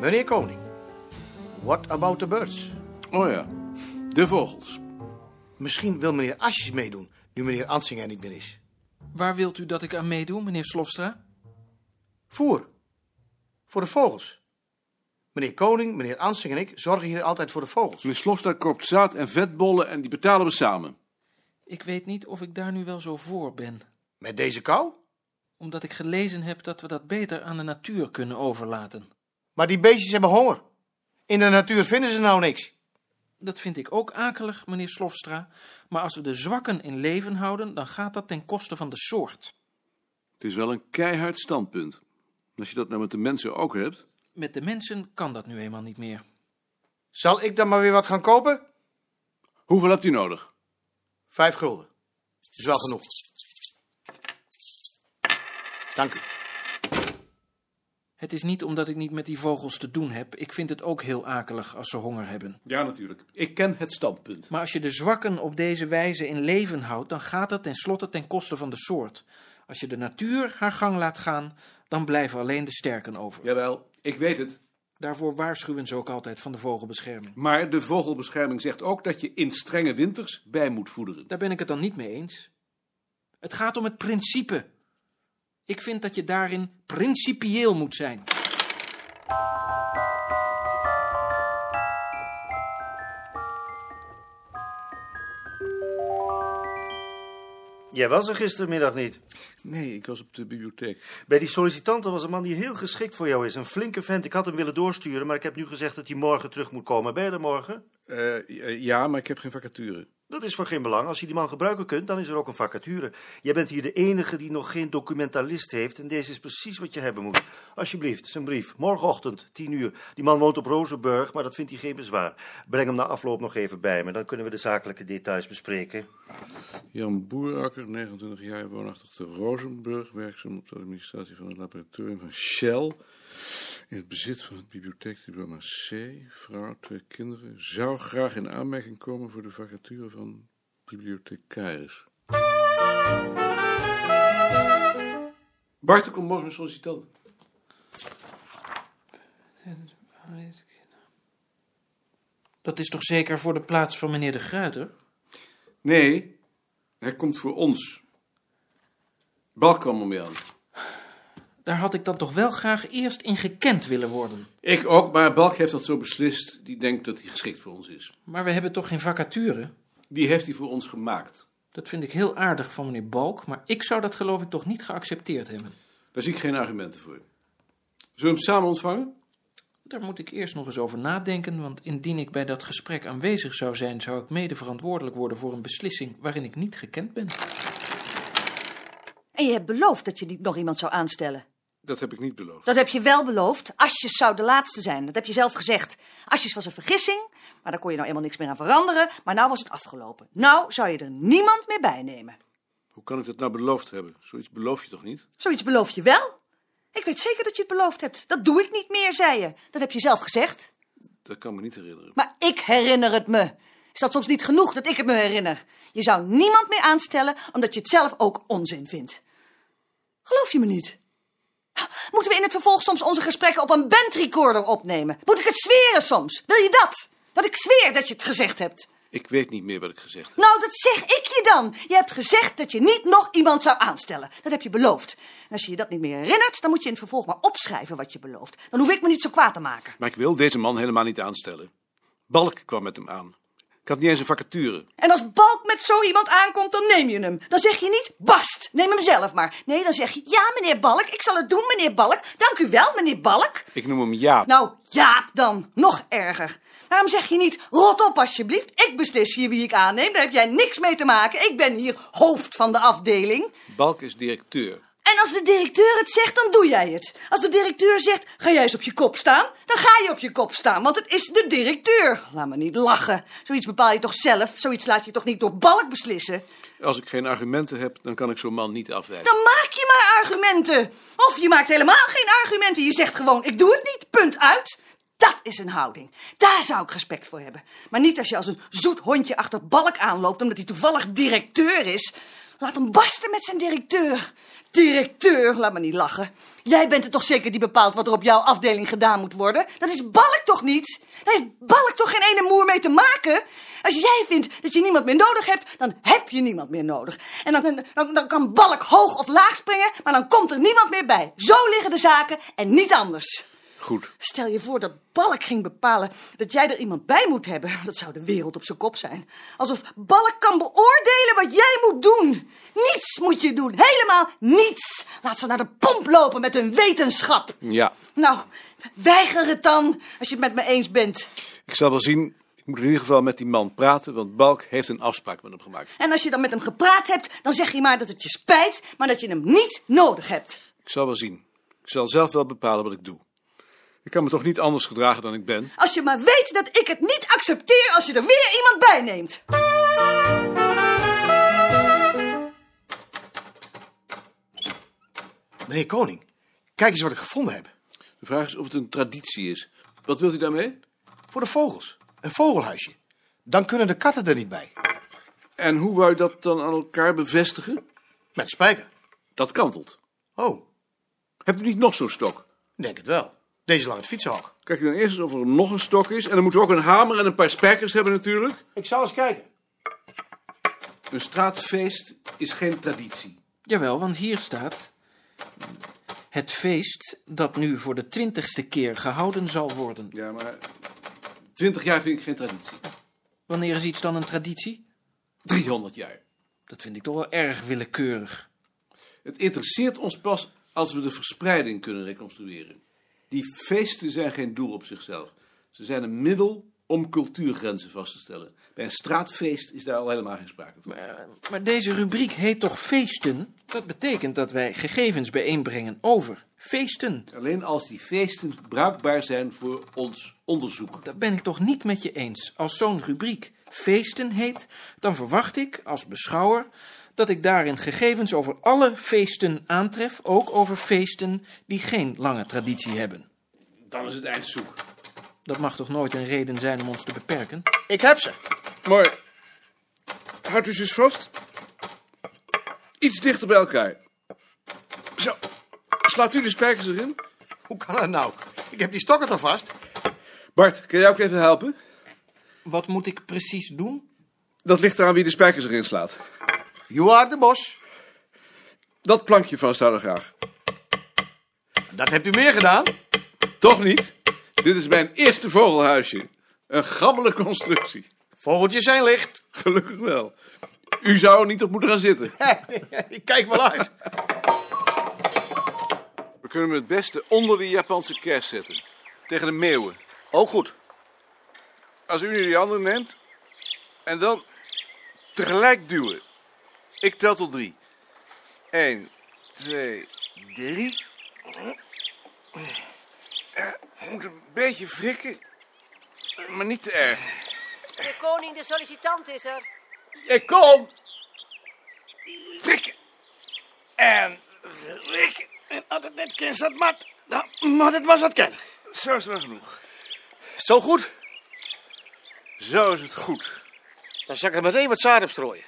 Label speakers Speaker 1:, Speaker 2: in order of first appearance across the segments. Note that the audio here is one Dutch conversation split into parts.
Speaker 1: Meneer Koning, what about the birds?
Speaker 2: Oh ja, de vogels.
Speaker 1: Misschien wil meneer Asjes meedoen, nu meneer Ansing er niet meer is.
Speaker 3: Waar wilt u dat ik aan meedoe, meneer Slofstra?
Speaker 1: Voer. Voor de vogels. Meneer Koning, meneer Ansing en ik zorgen hier altijd voor de vogels.
Speaker 2: Meneer Slofstra koopt zaad en vetbollen en die betalen we samen.
Speaker 3: Ik weet niet of ik daar nu wel zo voor ben,
Speaker 1: Met deze kou?
Speaker 3: omdat ik gelezen heb dat we dat beter aan de natuur kunnen overlaten.
Speaker 1: Maar die beestjes hebben honger. In de natuur vinden ze nou niks.
Speaker 3: Dat vind ik ook akelig, meneer Slofstra, maar als we de zwakken in leven houden, dan gaat dat ten koste van de soort.
Speaker 2: Het is wel een keihard standpunt. En Als je dat nou met de mensen ook hebt.
Speaker 3: Met de mensen kan dat nu eenmaal niet meer.
Speaker 1: Zal ik dan maar weer wat gaan kopen?
Speaker 2: Hoeveel hebt u nodig?
Speaker 1: Vijf gulden. Is wel genoeg. Dank u.
Speaker 3: Het is niet omdat ik niet met die vogels te doen heb. Ik vind het ook heel akelig als ze honger hebben.
Speaker 2: Ja, natuurlijk. Ik ken het standpunt.
Speaker 3: Maar als je de zwakken op deze wijze in leven houdt, dan gaat dat tenslotte ten koste van de soort. Als je de natuur haar gang laat gaan, dan blijven alleen de sterken over.
Speaker 2: Jawel, ik weet het.
Speaker 3: Daarvoor waarschuwen ze ook altijd van de vogelbescherming.
Speaker 2: Maar de vogelbescherming zegt ook dat je in strenge winters bij moet voederen.
Speaker 3: Daar ben ik het dan niet mee eens. Het gaat om het principe. Ik vind dat je daarin principieel moet zijn.
Speaker 4: Jij was er gistermiddag niet.
Speaker 2: Nee, ik was op de bibliotheek.
Speaker 4: Bij die sollicitanten was een man die heel geschikt voor jou is. Een flinke vent. Ik had hem willen doorsturen, maar ik heb nu gezegd dat hij morgen terug moet komen. Ben je er morgen?
Speaker 2: Eh, ja, maar ik heb geen vacature.
Speaker 4: Dat is van geen belang. Als je die man gebruiken kunt, dan is er ook een vacature. Jij bent hier de enige die nog geen documentalist heeft. En deze is precies wat je hebben moet. Alsjeblieft, zijn brief. Morgenochtend, 10 uur. Die man woont op Rozenburg, maar dat vindt hij geen bezwaar. Breng hem na afloop nog even bij me. Dan kunnen we de zakelijke details bespreken.
Speaker 2: Jan Boerakker, 29 jaar, woonachtig te Rozenburg, werkzaam op de administratie van het laboratorium van Shell. In het bezit van het bibliotheekdiploma C, vrouw, twee kinderen. Zou graag in aanmerking komen voor de vacature van bibliothecaris. Bart, kom morgen een sollicitant.
Speaker 3: Dat is toch zeker voor de plaats van meneer de Gruiter?
Speaker 2: Nee, hij komt voor ons. Bal kwam er mee aan.
Speaker 3: Daar had ik dan toch wel graag eerst in gekend willen worden.
Speaker 2: Ik ook, maar Balk heeft dat zo beslist. Die denkt dat hij geschikt voor ons is.
Speaker 3: Maar we hebben toch geen vacature?
Speaker 2: Die heeft hij voor ons gemaakt.
Speaker 3: Dat vind ik heel aardig van meneer Balk, maar ik zou dat geloof ik toch niet geaccepteerd hebben.
Speaker 2: Daar zie ik geen argumenten voor. Zullen we hem samen ontvangen?
Speaker 3: Daar moet ik eerst nog eens over nadenken, want indien ik bij dat gesprek aanwezig zou zijn, zou ik mede verantwoordelijk worden voor een beslissing waarin ik niet gekend ben.
Speaker 5: En je hebt beloofd dat je niet nog iemand zou aanstellen.
Speaker 2: Dat heb ik niet beloofd.
Speaker 5: Dat heb je wel beloofd. Asjes zou de laatste zijn. Dat heb je zelf gezegd. Asjes was een vergissing, maar daar kon je nou eenmaal niks meer aan veranderen. Maar nou was het afgelopen. Nou zou je er niemand meer bij nemen.
Speaker 2: Hoe kan ik dat nou beloofd hebben? Zoiets beloof je toch niet?
Speaker 5: Zoiets beloof je wel? Ik weet zeker dat je het beloofd hebt. Dat doe ik niet meer, zei je. Dat heb je zelf gezegd.
Speaker 2: Dat kan me niet herinneren.
Speaker 5: Maar ik herinner het me. Is dat soms niet genoeg dat ik het me herinner? Je zou niemand meer aanstellen omdat je het zelf ook onzin vindt. Geloof je me niet? Moeten we in het vervolg soms onze gesprekken op een bandrecorder opnemen? Moet ik het zweren soms? Wil je dat? Dat ik zweer dat je het gezegd hebt.
Speaker 2: Ik weet niet meer wat ik gezegd heb.
Speaker 5: Nou, dat zeg ik je dan. Je hebt gezegd dat je niet nog iemand zou aanstellen. Dat heb je beloofd. En als je je dat niet meer herinnert, dan moet je in het vervolg maar opschrijven wat je belooft. Dan hoef ik me niet zo kwaad te maken.
Speaker 2: Maar ik wil deze man helemaal niet aanstellen. Balk kwam met hem aan. Ik had niet eens een vacature.
Speaker 5: En als Balk met zo iemand aankomt, dan neem je hem. Dan zeg je niet, bast, neem hem zelf maar. Nee, dan zeg je, ja meneer Balk, ik zal het doen meneer Balk. Dank u wel meneer Balk.
Speaker 2: Ik noem hem Jaap.
Speaker 5: Nou, ja dan, nog erger. Waarom zeg je niet, rot op alsjeblieft, ik beslis hier wie ik aanneem. Daar heb jij niks mee te maken, ik ben hier hoofd van de afdeling.
Speaker 2: Balk is directeur.
Speaker 5: En als de directeur het zegt, dan doe jij het. Als de directeur zegt, ga jij eens op je kop staan, dan ga je op je kop staan, want het is de directeur. Laat me niet lachen. Zoiets bepaal je toch zelf? Zoiets laat je toch niet door balk beslissen?
Speaker 2: Als ik geen argumenten heb, dan kan ik zo'n man niet afwijzen.
Speaker 5: Dan maak je maar argumenten. Of je maakt helemaal geen argumenten. Je zegt gewoon, ik doe het niet, punt uit. Dat is een houding. Daar zou ik respect voor hebben. Maar niet als je als een zoet hondje achter balk aanloopt omdat hij toevallig directeur is. Laat hem barsten met zijn directeur. Directeur, laat me niet lachen. Jij bent er toch zeker die bepaalt wat er op jouw afdeling gedaan moet worden? Dat is Balk toch niet? Daar heeft Balk toch geen ene moer mee te maken? Als jij vindt dat je niemand meer nodig hebt, dan heb je niemand meer nodig. En dan, dan, dan kan Balk hoog of laag springen, maar dan komt er niemand meer bij. Zo liggen de zaken en niet anders.
Speaker 6: Goed.
Speaker 5: Stel je voor dat Balk ging bepalen dat jij er iemand bij moet hebben. Dat zou de wereld op zijn kop zijn. Alsof Balk kan beoordelen wat jij moet doen. Niets moet je doen, helemaal niets. Laat ze naar de pomp lopen met hun wetenschap.
Speaker 6: Ja.
Speaker 5: Nou, weiger het dan als je het met me eens bent.
Speaker 2: Ik zal wel zien. Ik moet in ieder geval met die man praten, want Balk heeft een afspraak met hem gemaakt.
Speaker 5: En als je dan met hem gepraat hebt, dan zeg je maar dat het je spijt, maar dat je hem niet nodig hebt.
Speaker 2: Ik zal wel zien. Ik zal zelf wel bepalen wat ik doe. Ik kan me toch niet anders gedragen dan ik ben.
Speaker 5: Als je maar weet dat ik het niet accepteer als je er weer iemand bij neemt.
Speaker 1: Meneer Koning, kijk eens wat ik gevonden heb.
Speaker 2: De vraag is of het een traditie is. Wat wilt u daarmee?
Speaker 1: Voor de vogels. Een vogelhuisje. Dan kunnen de katten er niet bij.
Speaker 2: En hoe wou je dat dan aan elkaar bevestigen?
Speaker 1: Met spijker.
Speaker 2: Dat kantelt.
Speaker 1: Oh,
Speaker 2: Hebt u niet nog zo'n stok?
Speaker 1: ik denk het wel. Deze lange fietsenhak.
Speaker 2: Kijk dan eerst eens of er nog een stok is. En dan moeten we ook een hamer en een paar spijkers hebben natuurlijk.
Speaker 1: Ik zal eens kijken.
Speaker 2: Een straatfeest is geen traditie.
Speaker 3: Jawel, want hier staat. Het feest dat nu voor de twintigste keer gehouden zal worden.
Speaker 2: Ja, maar twintig jaar vind ik geen traditie.
Speaker 3: Wanneer is iets dan een traditie?
Speaker 2: 300 jaar.
Speaker 3: Dat vind ik toch wel erg willekeurig.
Speaker 2: Het interesseert ons pas als we de verspreiding kunnen reconstrueren. Die feesten zijn geen doel op zichzelf. Ze zijn een middel om cultuurgrenzen vast te stellen. Bij een straatfeest is daar al helemaal geen sprake van.
Speaker 3: Maar, Eh, maar deze rubriek heet toch feesten? Dat betekent dat wij gegevens bijeenbrengen over feesten.
Speaker 2: Alleen als die feesten bruikbaar zijn voor ons onderzoek.
Speaker 3: Dat ben ik toch niet met je eens. Als zo'n rubriek feesten heet, dan verwacht ik als beschouwer dat ik daarin gegevens over alle feesten aantref, ook over feesten die geen lange traditie hebben.
Speaker 2: Dan is het eind zoek.
Speaker 3: Dat mag toch nooit een reden zijn om ons te beperken?
Speaker 1: Ik heb ze.
Speaker 2: Mooi. Houd dus eens vast. Iets dichter bij elkaar. Zo. Slaat u de spijkers erin?
Speaker 1: Hoe kan dat nou? Ik heb die stokken toch vast?
Speaker 2: Bart, kan jij ook even helpen?
Speaker 3: Wat moet ik precies doen?
Speaker 2: Dat ligt eraan wie de spijkers erin slaat.
Speaker 1: You are the boss.
Speaker 2: Dat plankje vasthouden graag.
Speaker 1: Dat hebt u meer gedaan.
Speaker 2: Toch niet? Dit is mijn eerste vogelhuisje. Een gammele constructie.
Speaker 1: Vogeltjes zijn licht.
Speaker 2: Gelukkig wel. U zou er niet op moeten gaan zitten.
Speaker 1: ik kijk wel uit.
Speaker 2: We kunnen hem het beste onder de Japanse kerst zetten. Tegen de meeuwen.
Speaker 1: Ook Oh, goed.
Speaker 2: Als u nu die andere neemt. En dan tegelijk duwen. Ik tel tot drie. Eén, twee, drie. Eh, Moet een beetje frikken. Maar niet te erg.
Speaker 7: De koning, de sollicitant is er.
Speaker 2: Ik kom. Frikken. En frikken. En als het net kind zat mat, dan mat het was dat ken. Zo is het wel genoeg.
Speaker 1: Zo goed.
Speaker 2: Zo is het goed.
Speaker 1: Dan zal ik er meteen wat zaad op strooien.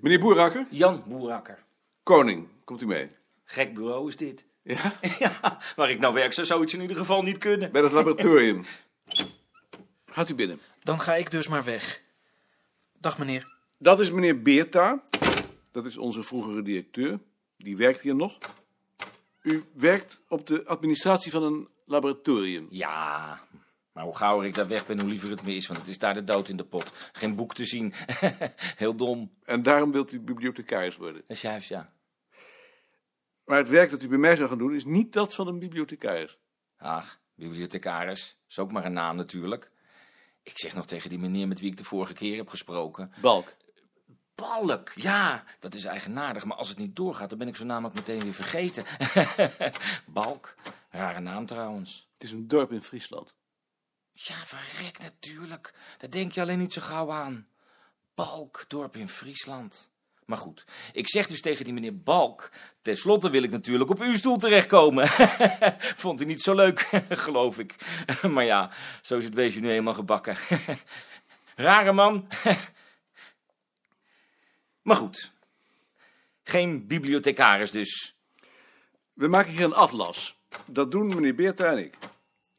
Speaker 2: Meneer Boerakker,
Speaker 8: Jan Boerakker.
Speaker 2: koning, komt u mee.
Speaker 8: Gek bureau is dit.
Speaker 2: Ja?
Speaker 8: Ja, waar ik nou werk zou zoiets in ieder geval niet kunnen.
Speaker 2: Bij het laboratorium. Gaat u binnen.
Speaker 3: Dan ga ik dus maar weg. Dag meneer.
Speaker 2: Dat is meneer Beerta. Dat is onze vroegere directeur. Die werkt hier nog. U werkt op de administratie van een laboratorium.
Speaker 8: Ja, maar hoe gauwer ik daar weg ben, hoe liever het me is. Want het is daar de dood in de pot. Geen boek te zien. Heel dom.
Speaker 2: En daarom wilt u bibliothecaris worden.
Speaker 8: Dat is juist, ja.
Speaker 2: Maar het werk dat u bij mij zou gaan doen is niet dat van een bibliothecaris.
Speaker 8: Ach, bibliothecaris. Is ook maar een naam natuurlijk. Ik zeg nog tegen die meneer met wie ik de vorige keer heb gesproken.
Speaker 2: Balk.
Speaker 8: Balk, ja, dat is eigenaardig. Maar als het niet doorgaat, dan ben ik zo namelijk meteen weer vergeten. Balk, rare naam trouwens.
Speaker 2: Het is een dorp in Friesland.
Speaker 8: Ja, verrek natuurlijk. Daar denk je alleen niet zo gauw aan. Balkdorp in Friesland. Maar goed, ik zeg dus tegen die meneer Balk. Ten slotte wil ik natuurlijk op uw stoel terechtkomen. Vond u niet zo leuk, geloof ik. maar ja, zo is het wezen nu eenmaal gebakken. Rare man.
Speaker 3: Maar goed, geen bibliothecaris dus.
Speaker 2: We maken hier een atlas. Dat doen meneer Beerta en ik.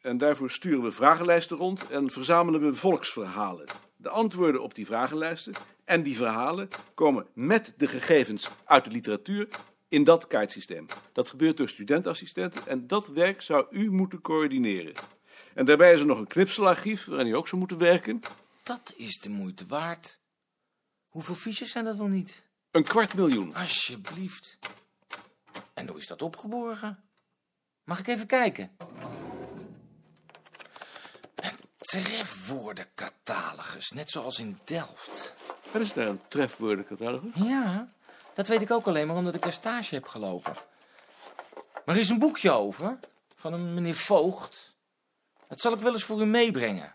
Speaker 2: En daarvoor sturen we vragenlijsten rond en verzamelen we volksverhalen. De antwoorden op die vragenlijsten en die verhalen komen met de gegevens uit de literatuur in dat kaartsysteem. Dat gebeurt door studentassistenten en dat werk zou u moeten coördineren. En daarbij is er nog een knipselarchief waarin u ook zou moeten werken.
Speaker 3: Dat is de moeite waard. Hoeveel fiches zijn dat wel niet?
Speaker 2: Een kwart miljoen.
Speaker 3: Alsjeblieft. En hoe is dat opgeborgen? Mag ik even kijken? Een trefwoordencatalogus, net zoals in Delft.
Speaker 2: Wat is daar een trefwoordencatalogus?
Speaker 3: Ja, dat weet ik ook alleen maar omdat ik daar stage heb gelopen. Maar er is een boekje over, van een meneer Voogd. Dat zal ik wel eens voor u meebrengen.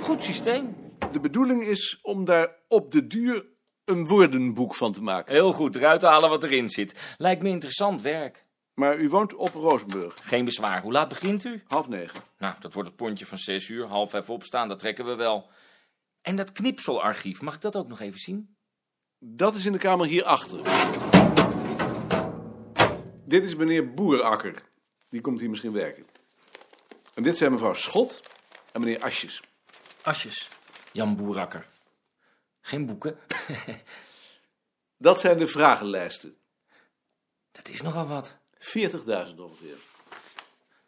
Speaker 3: Goed systeem.
Speaker 2: De bedoeling is om daar op de duur een woordenboek van te maken.
Speaker 3: Heel goed, eruit halen wat erin zit. Lijkt me interessant werk.
Speaker 2: Maar u woont op Rozenburg,
Speaker 3: Geen bezwaar. Hoe laat begint u?
Speaker 2: half negen.
Speaker 3: Nou, dat wordt het pontje van zes uur. Half even opstaan, dat trekken we wel. En dat knipselarchief, mag ik dat ook nog even zien?
Speaker 2: Dat is in de kamer hierachter. Dit is meneer Boerakker. Die komt hier misschien werken. En dit zijn mevrouw Schot en meneer Asjes.
Speaker 3: Asjes. Jan Boerakker. Geen boeken.
Speaker 2: Dat zijn de vragenlijsten.
Speaker 3: dat is nogal wat.
Speaker 2: 40.000 ongeveer.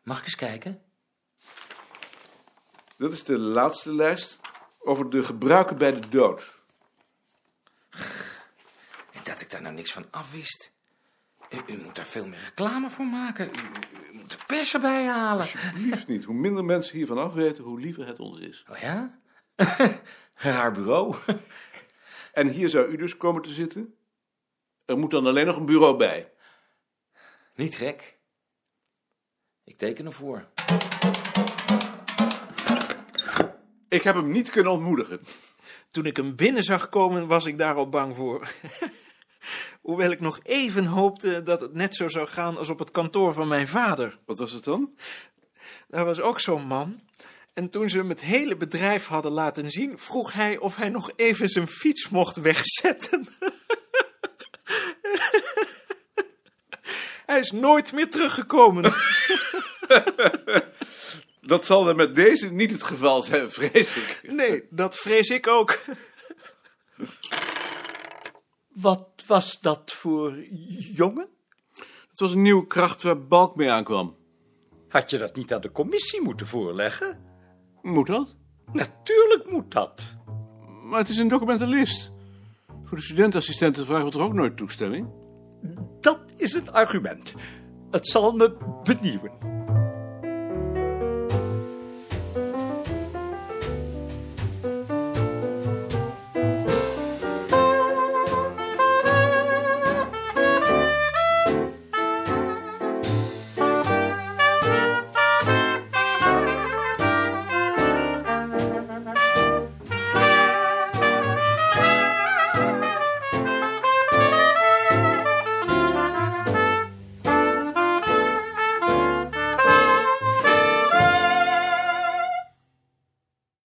Speaker 3: Mag ik eens kijken?
Speaker 2: Dat is de laatste lijst over de gebruiken bij de dood.
Speaker 3: Dat ik daar nou niks van afwist. U, u moet daar veel meer reclame voor maken. U, u- u moet de pers erbij halen.
Speaker 2: Liefst niet. Hoe minder mensen hiervan afweten, hoe liever het ons is.
Speaker 3: Oh ja? Raar bureau.
Speaker 2: En hier zou u dus komen te zitten. Er moet dan alleen nog een bureau bij.
Speaker 3: Niet gek. Ik teken ervoor.
Speaker 2: Ik heb hem niet kunnen ontmoedigen.
Speaker 9: Toen ik hem binnen zag komen, was ik daar al bang voor. Hoewel ik nog even hoopte dat het net zo zou gaan als op het kantoor van mijn vader.
Speaker 2: Wat was het dan?
Speaker 9: Daar was ook zo'n man. En toen ze hem het hele bedrijf hadden laten zien, vroeg hij of hij nog even zijn fiets mocht wegzetten. hij is nooit meer teruggekomen.
Speaker 2: Dat zal dan met deze niet het geval zijn, vrees ik.
Speaker 9: Nee, dat vrees ik ook.
Speaker 10: Wat was dat voor jongen?
Speaker 2: Het was een nieuwe kracht waar Balk mee aankwam.
Speaker 10: Had je dat niet aan de commissie moeten voorleggen?
Speaker 2: Moet dat?
Speaker 10: Natuurlijk moet dat.
Speaker 2: Maar het is een documentalist. Voor de studentassistenten vragen we toch ook nooit toestemming?
Speaker 10: Dat is een argument. Het zal me benieuwen.